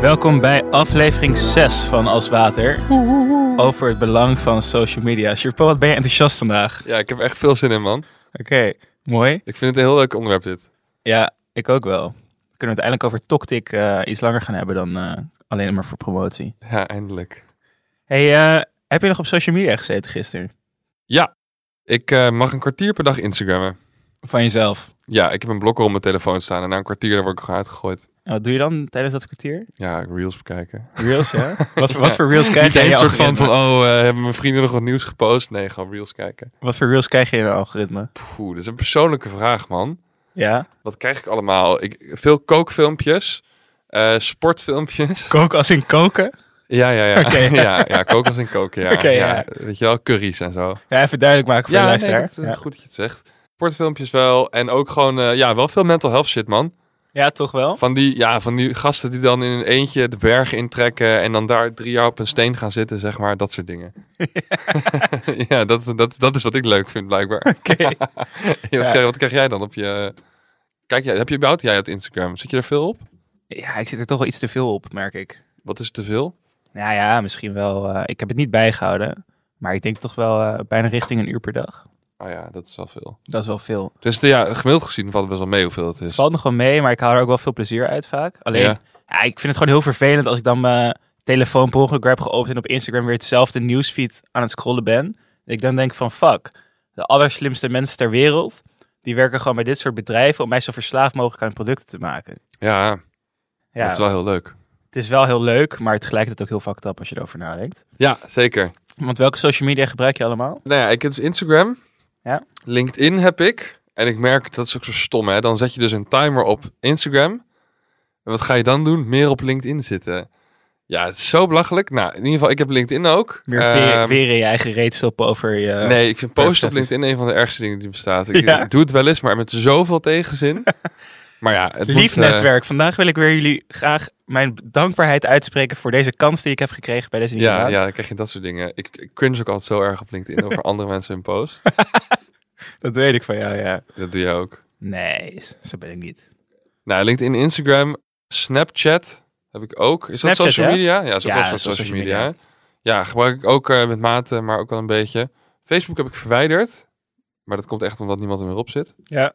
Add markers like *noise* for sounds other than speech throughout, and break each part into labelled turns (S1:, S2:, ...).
S1: Welkom bij aflevering 6 van Als Water over het belang van social media. Sherpa, wat ben je enthousiast vandaag?
S2: Ja, ik heb echt veel zin in, man.
S1: Oké, mooi.
S2: Ik vind het een heel leuk onderwerp, dit.
S1: Ja, ik ook wel. We kunnen het uiteindelijk over Toctic eh, iets langer gaan hebben dan eh, alleen maar voor promotie.
S2: Ja, eindelijk.
S1: Hey, eh, heb je nog op social media gezeten gisteren?
S2: Ik eh, mag een kwartier per dag Instagrammen.
S1: Van jezelf.
S2: Ja, ik heb een blokker op mijn telefoon staan en na een kwartier dan word ik gewoon uitgegooid.
S1: En wat doe je dan tijdens dat kwartier?
S2: Ja, reels bekijken.
S1: Reels, ja? *laughs* wat, voor- wat voor reels krijg
S2: Niet
S1: je in
S2: een
S1: je
S2: soort van, van,
S1: algoritme?
S2: oh, eh, hebben mijn vrienden nog wat nieuws gepost? Nee, gewoon reels kijken.
S1: Wat voor reels krijg je in een algoritme?
S2: Poeh, dat is een persoonlijke vraag, man.
S1: Ja?
S2: Wat krijg ik allemaal? Ik, veel kookfilmpjes, eh, sportfilmpjes.
S1: Koken als in koken?
S2: ja, ja, ja.
S1: Oké.
S2: *laughs* ja, ja, koken als in koken, ja.
S1: Oké,
S2: ja.
S1: ja.
S2: Weet je wel, curry's en zo.
S1: Ja, even duidelijk maken voor de
S2: Ja, nee,
S1: luisteraar.
S2: dat is eh,
S1: ja.
S2: goed dat je het zegt. Sportfilmpjes wel. En ook gewoon, eh, ja, wel veel mental health shit, man.
S1: ja, toch wel?
S2: Van die, ja, van die gasten die dan in een eentje de bergen intrekken en dan daar drie jaar op een steen gaan zitten, zeg maar. Dat soort
S1: *laughs*
S2: dingen. ja, dat is, dat, dat is wat ik leuk vind, blijkbaar.
S1: *laughs* Oké.
S2: wat, krijg, wat krijg jij dan op je... eh, Kijk, jij- heb je überhaupt jij op Instagram? Zit je er veel op?
S1: Ja, ik zit er toch wel iets te veel op, merk ik.
S2: Wat is te veel?
S1: Nou ja, misschien wel. eh, ik heb het niet bijgehouden. Maar ik denk toch wel eh, bijna richting een uur per dag.
S2: Oh ja, dat is wel veel.
S1: Dat is wel veel.
S2: Dus eh, ja, gemiddeld gezien valt het best wel mee hoeveel het
S1: Het
S2: is.
S1: valt nog wel mee, maar ik haal er ook wel veel plezier uit vaak. Alleen, ja.
S2: Ja.
S1: ik vind het gewoon heel vervelend als ik dan mijn telefoon per ongeluk weer heb geopend en op Instagram weer hetzelfde nieuwsfeed aan het scrollen ben. En ik dan denk van, fuck, de allerslimste mensen ter wereld, die werken gewoon bij dit soort bedrijven om mij zo verslaafd mogelijk aan producten te maken.
S2: Ja,
S1: Ja,
S2: dat is wel heel leuk.
S1: het is wel heel leuk, maar tegelijkertijd ook heel fucked up als je erover nadenkt.
S2: Ja, zeker.
S1: Want welke social media gebruik je allemaal?
S2: Nou ja, ik heb dus Instagram.
S1: Ja.
S2: LinkedIn heb ik. En ik merk, dat is ook zo stom hè. Dan zet je dus een timer op Instagram. En wat ga je dan doen? Meer op LinkedIn zitten. Ja, het is zo belachelijk. Nou, in ieder geval, ik heb LinkedIn ook.
S1: Meer veren-
S2: Ehm,
S1: veren in je eigen reet stoppen over je... eh,
S2: Nee, ik vind posten
S1: perfect.
S2: op LinkedIn een van de ergste dingen die bestaat.
S1: *laughs*
S2: Ik
S1: Ja.
S2: doe het wel eens, maar met zoveel
S1: *laughs*
S2: tegenzin. maar ja, het
S1: Lief
S2: moet, eh,
S1: netwerk, vandaag wil ik weer jullie graag mijn dankbaarheid uitspreken voor deze kans die ik heb gekregen bij deze nieuwe
S2: ja,
S1: baan.
S2: ja, dan krijg je dat soort dingen. Ik, ik cringe ook altijd zo erg op LinkedIn
S1: *laughs*
S2: over andere mensen hun post.
S1: Dat weet ik van jou, ja.
S2: Dat doe je ook.
S1: Nee, zo ben ik niet.
S2: Nou, LinkedIn, Instagram, Snapchat heb ik ook. Is
S1: Snapchat,
S2: dat social
S1: hè?
S2: media? Ja, is ook
S1: Ja,
S2: wel van
S1: is wel
S2: social,
S1: social
S2: media. Ja, gebruik ik ook eh, met mate, maar ook wel een beetje. Facebook heb ik verwijderd. Maar dat komt echt omdat niemand er meer op zit.
S1: Ja.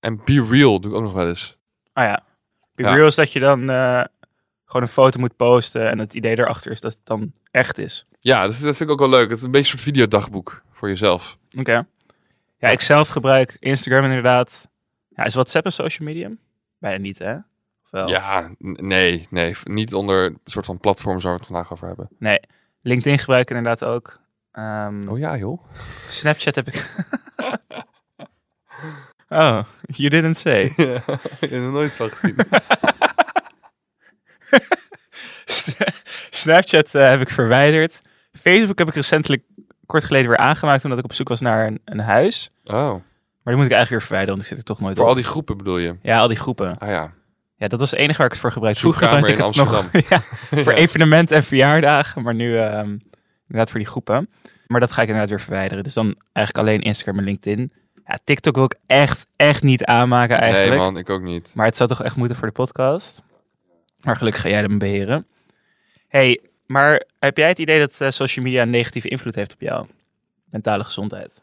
S2: En Be Real doe ik ook nog wel eens.
S1: Ah ja. Be
S2: Ja.
S1: real is dat je dan eh, gewoon een foto moet posten en het idee daarachter is dat het dan echt is.
S2: Ja, dat, dat vind ik ook wel leuk. Het is een beetje een soort videodagboek voor jezelf.
S1: Oké. Ja, ik zelf gebruik Instagram inderdaad. Ja, is WhatsApp een social medium? Bijna niet, hè? Of wel?
S2: Ja, n- nee, nee. v- Niet onder een soort van platforms waar we het vandaag over hebben.
S1: LinkedIn gebruik ik inderdaad ook. Ehm,
S2: Oh ja, joh.
S1: Snapchat heb ik. *laughs* oh, you didn't say.
S2: *laughs*
S1: *laughs*
S2: Ja, ik heb nog nooit zo gezien.
S1: Snapchat eh, heb ik verwijderd. Facebook heb ik recentelijk kort geleden weer aangemaakt omdat ik op zoek was naar een, een huis.
S2: *laughs* Oh,
S1: Maar die moet ik eigenlijk weer verwijderen, want ik zit er toch nooit
S2: voor
S1: op.
S2: al die groepen bedoel je?
S1: Ja, al die groepen.
S2: Ah ja.
S1: Ja, dat was het enige waar ik het voor gebruikte. Vroeger
S2: Zoekkamer
S1: gebruikte ik het
S2: in
S1: nog *laughs* ja, voor evenementen en verjaardagen, maar nu ehm, inderdaad voor die groepen. Maar dat ga ik inderdaad weer verwijderen. Dus dan eigenlijk alleen Instagram en LinkedIn. Ja, TikTok wil ik echt, echt niet aanmaken eigenlijk.
S2: Nee man, ik ook niet.
S1: Maar het zou toch echt moeten voor de podcast. Maar gelukkig ga jij hem beheren. hey, maar heb jij het idee dat eh, social media een negatieve invloed heeft op jouw mentale gezondheid?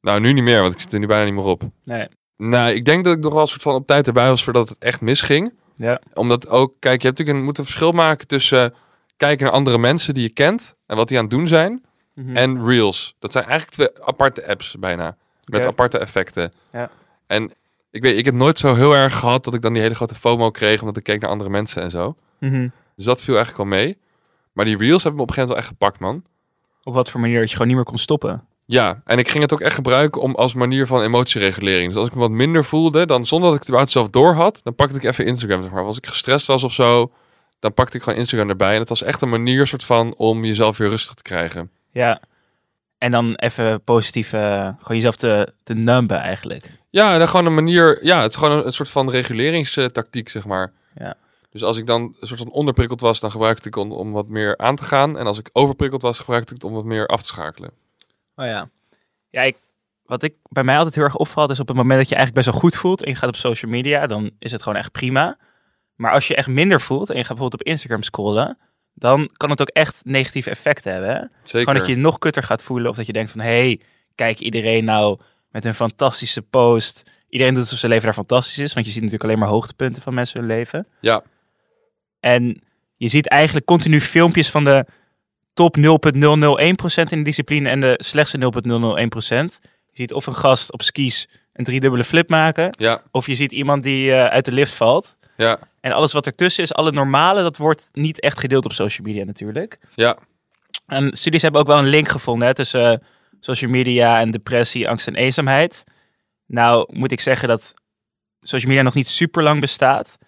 S2: Nou, nu niet meer, want ik zit er nu bijna niet meer op.
S1: Nee.
S2: Nou, ik denk dat ik nog wel een soort van op tijd erbij was voordat het echt misging.
S1: Ja.
S2: Omdat ook, kijk, je hebt natuurlijk een, moet een verschil maken tussen eh, kijken naar andere mensen die je kent en wat die aan het doen zijn.
S1: Mm. En,
S2: En Reels. Dat zijn eigenlijk twee aparte apps bijna. Met
S1: Oké.
S2: aparte effecten.
S1: Ja.
S2: En ik weet, ik heb nooit zo heel erg gehad dat ik dan die hele grote FOMO kreeg omdat ik keek naar andere mensen en zo.
S1: Mhm.
S2: Dus dat viel eigenlijk wel mee. Maar die Reels hebben me op een gegeven moment wel echt gepakt, man.
S1: Op wat voor manier dat je gewoon niet meer kon stoppen?
S2: Ja, en ik ging het ook echt gebruiken om als manier van emotieregulering. Dus als ik me wat minder voelde, dan zonder dat ik het überhaupt zelf door had, dan pakte ik even Instagram. Zeg maar. Als ik gestrest was of zo, dan pakte ik gewoon Instagram erbij. En het was echt een manier soort van om jezelf weer rustig te krijgen.
S1: Ja. En dan even positief, eh, gewoon jezelf te, te numben eigenlijk.
S2: Ja, dan gewoon een manier. Ja, het is gewoon een, een soort van reguleringstactiek, zeg maar.
S1: Ja.
S2: Dus als ik dan een soort van onderprikkeld was, dan gebruikte ik het om, om wat meer aan te gaan. En als ik overprikkeld was, gebruikte ik het om wat meer af te schakelen.
S1: Oh ja. Ja, ik, wat ik bij mij altijd heel erg opvalt is op het moment dat je eigenlijk best wel goed voelt en je gaat op social media, dan is het gewoon echt prima. Maar als je echt minder voelt en je gaat bijvoorbeeld op Instagram scrollen, dan kan het ook echt negatieve effecten hebben. Hè?
S2: Zeker.
S1: Gewoon dat je je nog kutter gaat voelen of dat je denkt van, hé, hey, kijk iedereen nou met een fantastische post. Iedereen doet alsof zijn leven daar fantastisch is, want je ziet natuurlijk alleen maar hoogtepunten van mensen hun leven.
S2: Ja.
S1: En je ziet eigenlijk continu filmpjes van de top 0,001% in de discipline en de slechtste 0,001%. Je ziet of een gast op skis een driedubbele flip maken,
S2: Ja,
S1: of je ziet iemand die eh, uit de lift valt.
S2: ja,
S1: En alles wat ertussen is, alle normale, dat wordt niet echt gedeeld op social media natuurlijk.
S2: ja.
S1: En Ehm, studies hebben ook wel een link gevonden hè, tussen eh, social media en depressie, angst en eenzaamheid. Nou moet ik zeggen dat social media nog niet super lang bestaat.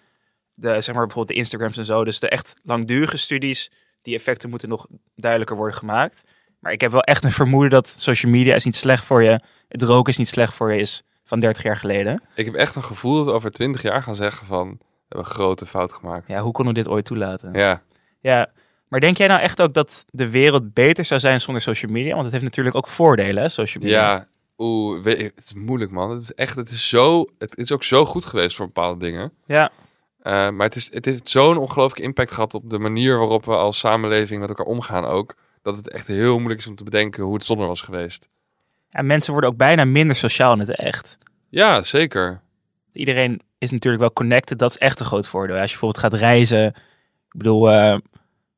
S1: De, zeg maar bijvoorbeeld de Instagrams en zo. Dus de echt langdurige studies, die effecten moeten nog duidelijker worden gemaakt. Maar ik heb wel echt een vermoeden dat social media is niet slecht voor je. Het roken is niet slecht voor je, is van 30 jaar geleden.
S2: Ik heb echt een gevoel dat we over 20 jaar gaan zeggen van... We hebben een grote fout gemaakt.
S1: Ja, hoe konden we dit ooit toelaten?
S2: Ja,
S1: Ja, maar denk jij nou echt ook dat de wereld beter zou zijn zonder social media? Want het heeft natuurlijk ook voordelen, hè, social media.
S2: ja. Oeh, weet je, het is moeilijk man. Het is echt, het is zo... Het is ook zo goed geweest voor bepaalde dingen.
S1: ja.
S2: Eh, maar het, is, het heeft zo'n ongelooflijke impact gehad op de manier waarop we als samenleving met elkaar omgaan ook. Dat het echt heel moeilijk is om te bedenken hoe het zonder was geweest.
S1: Ja, mensen worden ook bijna minder sociaal in het echt.
S2: Ja, zeker.
S1: Iedereen is natuurlijk wel connected. Dat is echt een groot voordeel. Als je bijvoorbeeld gaat reizen. Ik bedoel, eh,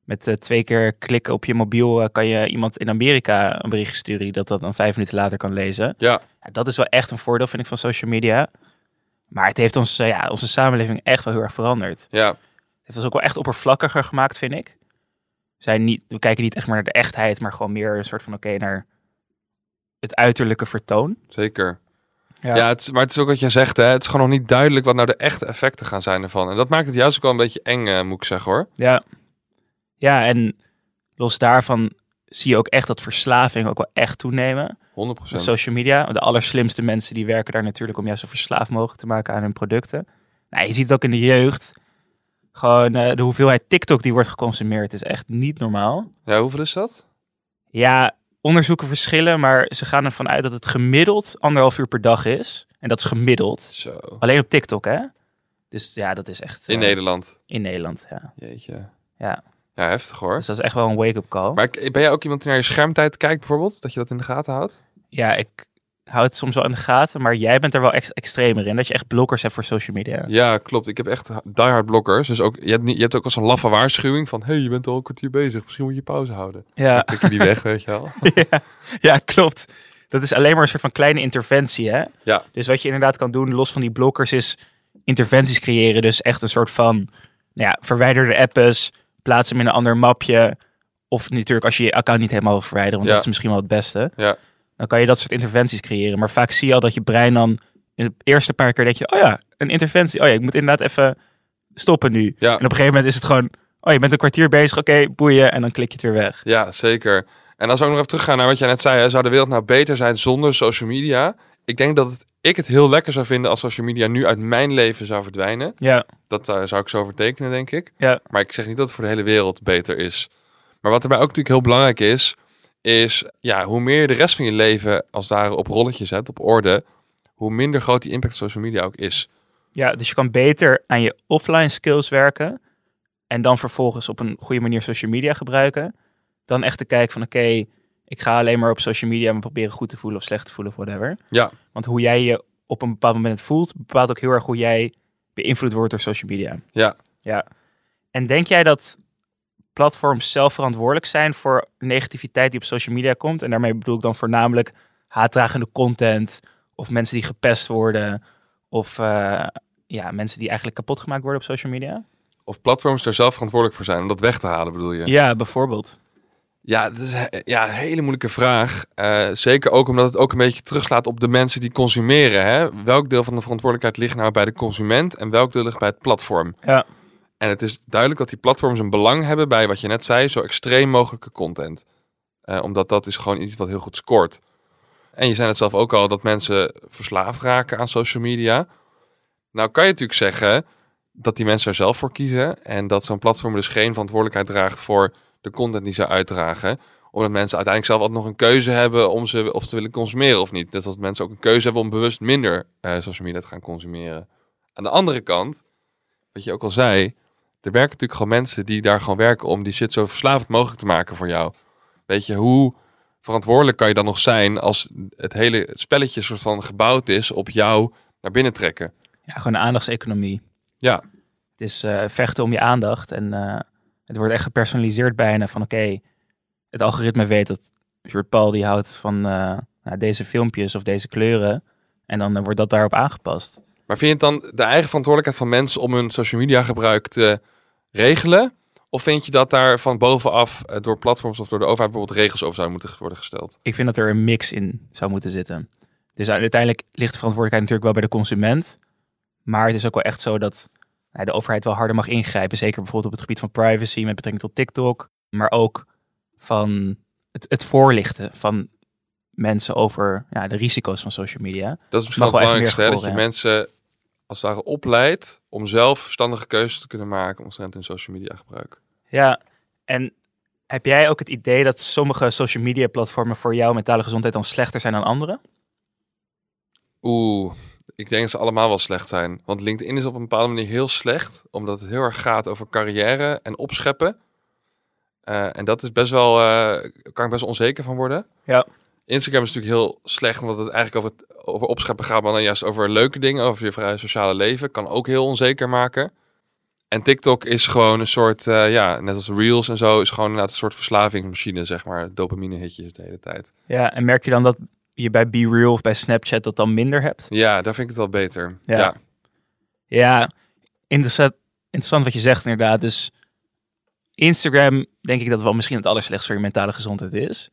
S1: met eh, twee keer klikken op je mobiel eh, kan je iemand in Amerika een bericht sturen. die Dat dat dan vijf minuten later kan lezen.
S2: Ja.
S1: Ja, dat is wel echt een voordeel, vind ik, van social media. Maar het heeft ons, eh, ja, onze samenleving echt wel heel erg veranderd.
S2: Ja,
S1: Het heeft ons ook wel echt oppervlakkiger gemaakt, vind ik. We Zijn niet, we kijken niet echt meer naar de echtheid, maar gewoon meer een soort van oké naar het uiterlijke vertoon.
S2: zeker.
S1: Ja.
S2: Ja, het is- maar het is ook wat jij zegt, hè. Het is gewoon nog niet duidelijk wat nou de echte effecten gaan zijn ervan. En dat maakt het juist ook wel een beetje eng, eh, moet ik zeggen, hoor.
S1: Ja. Ja, en los daarvan zie je ook echt dat verslaving ook wel echt toenemen.
S2: 100%.
S1: Met social media. De allerslimste mensen die werken daar natuurlijk om juist zo verslaafd mogelijk te maken aan hun producten. Nou, je ziet het ook in de jeugd. Gewoon eh, de hoeveelheid TikTok die wordt geconsumeerd is echt niet normaal.
S2: Ja, hoeveel is dat?
S1: Ja, onderzoeken verschillen, maar ze gaan ervan uit dat het gemiddeld anderhalf uur per dag is. En dat is gemiddeld.
S2: Zo.
S1: Alleen op TikTok, hè? Dus ja, dat is echt...
S2: In
S1: eh,
S2: Nederland.
S1: In Nederland, ja.
S2: Jeetje.
S1: Ja.
S2: Ja, heftig, hoor.
S1: Dus dat is echt wel een wake-up call.
S2: Maar ik- ben jij ook iemand die naar je schermtijd kijkt, bijvoorbeeld? Dat je dat in de gaten houdt?
S1: Ja, ik hou het soms wel in de gaten, maar jij bent er wel echt extremer in. Dat je echt blokkers hebt voor social media.
S2: Ja, klopt. Ik heb echt diehard blokkers. Dus ook, je, hebt niet, je hebt ook als een laffe waarschuwing van... hey, je bent al een kwartier bezig. Misschien moet je pauze houden.
S1: Ja,
S2: Klik je die weg, weet je wel.
S1: ja, ja, klopt. Dat is alleen maar een soort van kleine interventie, hè?
S2: Ja.
S1: Dus wat je inderdaad kan doen, los van die blokkers, is interventies creëren. Dus echt een soort van, nou ja, verwijder de app's, plaats hem in een ander mapje. Of natuurlijk als je je account niet helemaal wil verwijderen, want
S2: Ja.
S1: dat is misschien wel het beste.
S2: Ja.
S1: Dan kan je dat soort interventies creëren. Maar vaak zie je al dat je brein dan in de eerste paar keer denk je, oh ja, een interventie. Oh ja, ik moet inderdaad even stoppen nu.
S2: *laughs* Ja.
S1: En op een gegeven moment is het gewoon, oh je bent een kwartier bezig, oké, boeien. En dan klik je het weer weg.
S2: Ja, zeker. En als we ook nog even teruggaan naar wat jij net zei, hè, zou de wereld nou beter zijn zonder social media? Ik denk dat het, ik het heel lekker zou vinden als social media nu uit mijn leven zou verdwijnen.
S1: Ja,
S2: Dat eh, zou ik zo vertekenen, denk ik.
S1: ja,
S2: Maar ik zeg niet dat het voor de hele wereld beter is. Maar wat daarbij ook natuurlijk heel belangrijk is, is ja, hoe meer je de rest van je leven als het ware op rolletjes hebt, op orde, hoe minder groot die impact van social media ook is.
S1: ja. Dus je kan beter aan je offline skills werken. En dan vervolgens op een goede manier social media gebruiken. Dan echt te kijken van oké, ik ga alleen maar op social media me proberen goed te voelen of slecht te voelen of whatever.
S2: Ja.
S1: Want hoe jij je op een bepaald moment voelt, bepaalt ook heel erg hoe jij beïnvloed wordt door social media.
S2: Ja.
S1: Ja. En denk jij dat platforms zelf verantwoordelijk zijn voor negativiteit die op social media komt? En daarmee bedoel ik dan voornamelijk haatdragende content of mensen die gepest worden of eh, ja, mensen die eigenlijk kapot gemaakt worden op social media?
S2: Of platforms daar zelf verantwoordelijk voor zijn om dat weg te halen, bedoel je?
S1: Ja, bijvoorbeeld.
S2: Ja, dat is he- ja, een hele moeilijke vraag. Eh, zeker ook omdat het ook een beetje terugslaat op de mensen die consumeren. Hè? Welk deel van de verantwoordelijkheid ligt nou bij de consument en welk deel ligt bij het platform?
S1: Ja.
S2: En het is duidelijk dat die platforms een belang hebben bij wat je net zei, zo extreem mogelijke content. Eh, omdat dat is gewoon iets wat heel goed scoort. En je zei het zelf ook al dat mensen verslaafd raken aan social media. Nou kan je natuurlijk zeggen dat die mensen er zelf voor kiezen en dat zo'n platform dus geen verantwoordelijkheid draagt voor de content die ze uitdragen. Omdat mensen uiteindelijk zelf altijd nog een keuze hebben om ze of te willen consumeren of niet. Net als mensen ook een keuze hebben om bewust minder eh, social media te gaan consumeren. Aan de andere kant wat je ook al zei, er werken natuurlijk gewoon mensen die daar gewoon werken om die shit zo verslavend mogelijk te maken voor jou. Weet je, hoe verantwoordelijk kan je dan nog zijn als het hele spelletje soort van gebouwd is op jou naar binnen trekken?
S1: Ja, gewoon de aandachtseconomie.
S2: Ja.
S1: Het is eh, vechten om je aandacht. En eh, het wordt echt gepersonaliseerd bijna van oké, het algoritme weet dat George Paul die houdt van eh, nou, deze filmpjes of deze kleuren. En dan eh, wordt dat daarop aangepast.
S2: Maar vind je het dan de eigen verantwoordelijkheid van mensen om hun social media gebruik te regelen? Of vind je dat daar van bovenaf eh, door platforms of door de overheid bijvoorbeeld regels over zouden moeten worden gesteld?
S1: Ik vind dat er een mix in zou moeten zitten. Dus uiteindelijk ligt de verantwoordelijkheid natuurlijk wel bij de consument. Maar het is ook wel echt zo dat nou, de overheid wel harder mag ingrijpen. Zeker bijvoorbeeld op het gebied van privacy met betrekking tot TikTok. Maar ook van het, het voorlichten van mensen over ja, de risico's van social media.
S2: Dat is
S1: Mag
S2: misschien wel het
S1: wel echt
S2: belangrijkste, hè?
S1: meer
S2: dat je mensen als het ware opleidt om zelf verstandige keuzes te kunnen maken omtrent hun social media gebruik.
S1: Ja, en heb jij ook het idee dat sommige social media platformen voor jouw mentale gezondheid dan slechter zijn dan andere?
S2: Oeh, ik denk dat ze allemaal wel slecht zijn. Want LinkedIn is op een bepaalde manier heel slecht, omdat het heel erg gaat over carrière en opscheppen. Eh, en dat is best wel, eh, kan ik best wel onzeker van worden.
S1: Ja.
S2: Instagram is natuurlijk heel slecht, omdat het eigenlijk over, het- over opscheppen gaat, maar dan juist over leuke dingen, over je vrije sociale leven. Kan ook heel onzeker maken. En TikTok is gewoon een soort, eh, ja, net als Reels en zo, is gewoon inderdaad een soort verslavingsmachine, zeg maar. Dopamine hitjes de hele tijd.
S1: Ja, en merk je dan dat je bij Be Real of bij Snapchat dat dan minder hebt?
S2: Ja, daar vind ik het wel beter.
S1: Ja.
S2: ja.
S1: Ja, interessant, interessant wat je zegt inderdaad. Dus Instagram denk ik dat wel misschien het allerslechtste voor je mentale gezondheid is.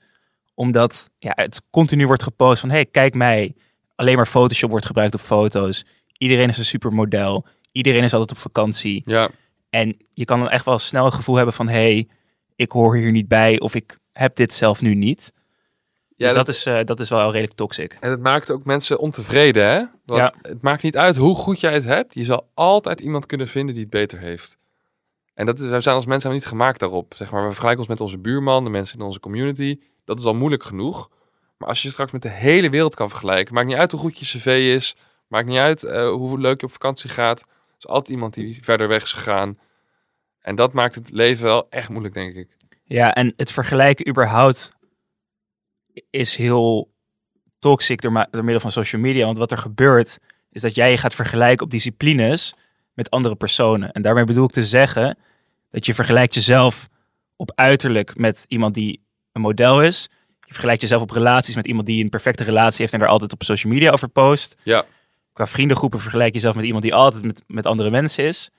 S1: Omdat ja, het continu wordt gepost van... hey, kijk mij. Alleen maar Photoshop wordt gebruikt op foto's. Iedereen is een supermodel. Iedereen is altijd op vakantie.
S2: ja.
S1: En je kan dan echt wel snel het gevoel hebben van... hey, ik hoor hier niet bij of ik heb dit zelf nu niet. dus
S2: Ja, dat-
S1: dat, is, eh, dat is wel redelijk toxic.
S2: En het maakt ook mensen ontevreden, hè? Want
S1: Ja.
S2: het maakt niet uit hoe goed jij het hebt. Je zal altijd iemand kunnen vinden die het beter heeft. En dat is, we zijn als mensen helemaal niet gemaakt daarop. Zeg maar, we vergelijken ons met onze buurman, de mensen in onze community. Dat is al moeilijk genoeg. Maar als je je straks met de hele wereld kan vergelijken, maakt niet uit hoe goed je cv is, maakt niet uit eh, hoe leuk je op vakantie gaat. Er is altijd iemand die verder weg is gegaan. En dat maakt het leven wel echt moeilijk, denk ik.
S1: Ja, en het vergelijken überhaupt is heel toxic door, ma- door middel van social media. Want wat er gebeurt, is dat jij je gaat vergelijken op disciplines met andere personen. En daarmee bedoel ik te zeggen dat je vergelijkt jezelf op uiterlijk met iemand die een model is. Je vergelijkt jezelf op relaties met iemand die een perfecte relatie heeft en daar altijd op social media over post.
S2: Ja.
S1: Qua vriendengroepen vergelijk je jezelf met iemand die altijd met, met andere mensen is.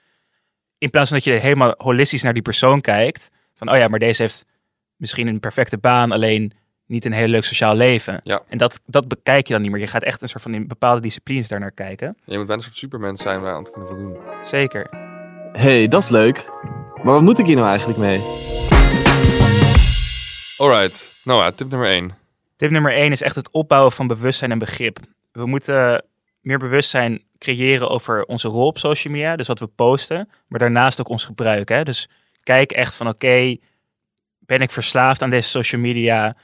S1: In plaats van dat je helemaal holistisch naar die persoon kijkt. Van, oh ja, maar deze heeft misschien een perfecte baan, alleen niet een heel leuk sociaal leven.
S2: Ja.
S1: En dat, dat bekijk je dan niet meer. Je gaat echt een soort van in bepaalde disciplines daarnaar kijken.
S2: Je moet bijna een soort supermens zijn om daar aan te kunnen voldoen.
S1: Zeker.
S3: hey, dat is leuk. Maar wat moet ik hier nou eigenlijk mee?
S2: Alright, Noah, tip nummer 1.
S1: Tip nummer één is echt het opbouwen van bewustzijn en begrip. We moeten meer bewustzijn creëren over onze rol op social media, dus wat we posten, maar daarnaast ook ons gebruik. Hè? Dus kijk echt van oké, ben ik verslaafd aan deze social media?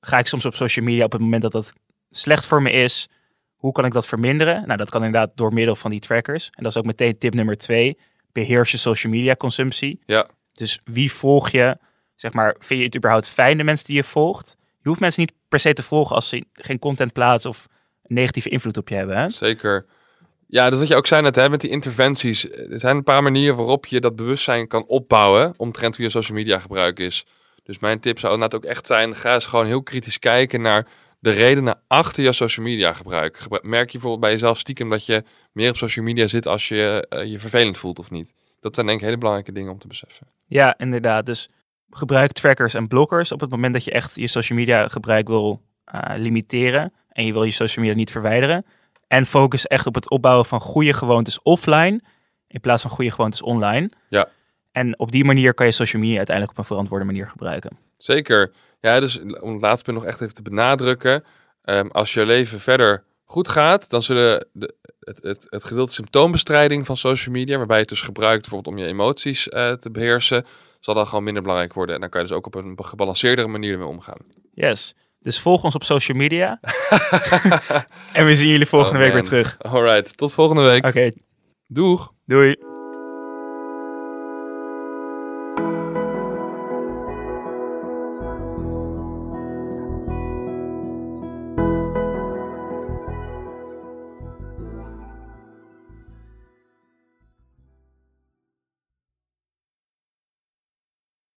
S1: Ga ik soms op social media op het moment dat dat slecht voor me is? Hoe kan ik dat verminderen? Nou, dat kan inderdaad door middel van die trackers. En dat is ook meteen tip nummer twee. Beheers je social media consumptie.
S2: Ja.
S1: Dus wie volg je? Zeg maar, vind je het überhaupt fijn de mensen die je volgt? Je hoeft mensen niet per se te volgen als ze geen content plaatsen of een negatieve invloed op je hebben. Hè?
S2: Zeker. Ja, dat wat je ook zei net, hè, met die interventies. Er zijn een paar manieren waarop je dat bewustzijn kan opbouwen omtrent hoe je social media gebruik is. Dus mijn tip zou inderdaad ook echt zijn, ga eens gewoon heel kritisch kijken naar de redenen achter je social media gebruik. Gebru- Merk je bijvoorbeeld bij jezelf stiekem dat je meer op social media zit als je eh, je vervelend voelt of niet. Dat zijn denk ik hele belangrijke dingen om te beseffen.
S1: Ja, inderdaad. Dus gebruik trackers en blokkers op het moment dat je echt je social media gebruik wil eh, limiteren en je wil je social media niet verwijderen. En focus echt op het opbouwen van goede gewoontes offline in plaats van goede gewoontes online.
S2: Ja.
S1: En op die manier kan je social media uiteindelijk op een verantwoorde manier gebruiken.
S2: Zeker. Ja, dus om het laatste punt nog echt even te benadrukken. ehm, als je leven verder goed gaat, dan zullen de, het, het, het gedeelte symptoombestrijding van social media, waarbij je het dus gebruikt bijvoorbeeld om je emoties eh, te beheersen, zal dan gewoon minder belangrijk worden. En dan kan je dus ook op een gebalanceerdere manier ermee omgaan.
S1: Yes. Dus volg ons op social
S2: *laughs*
S1: media. en we zien jullie volgende
S2: Oh,
S1: week weer
S2: man.
S1: terug.
S2: Alright, tot volgende week.
S1: Oké,
S2: Doeg!
S1: doei.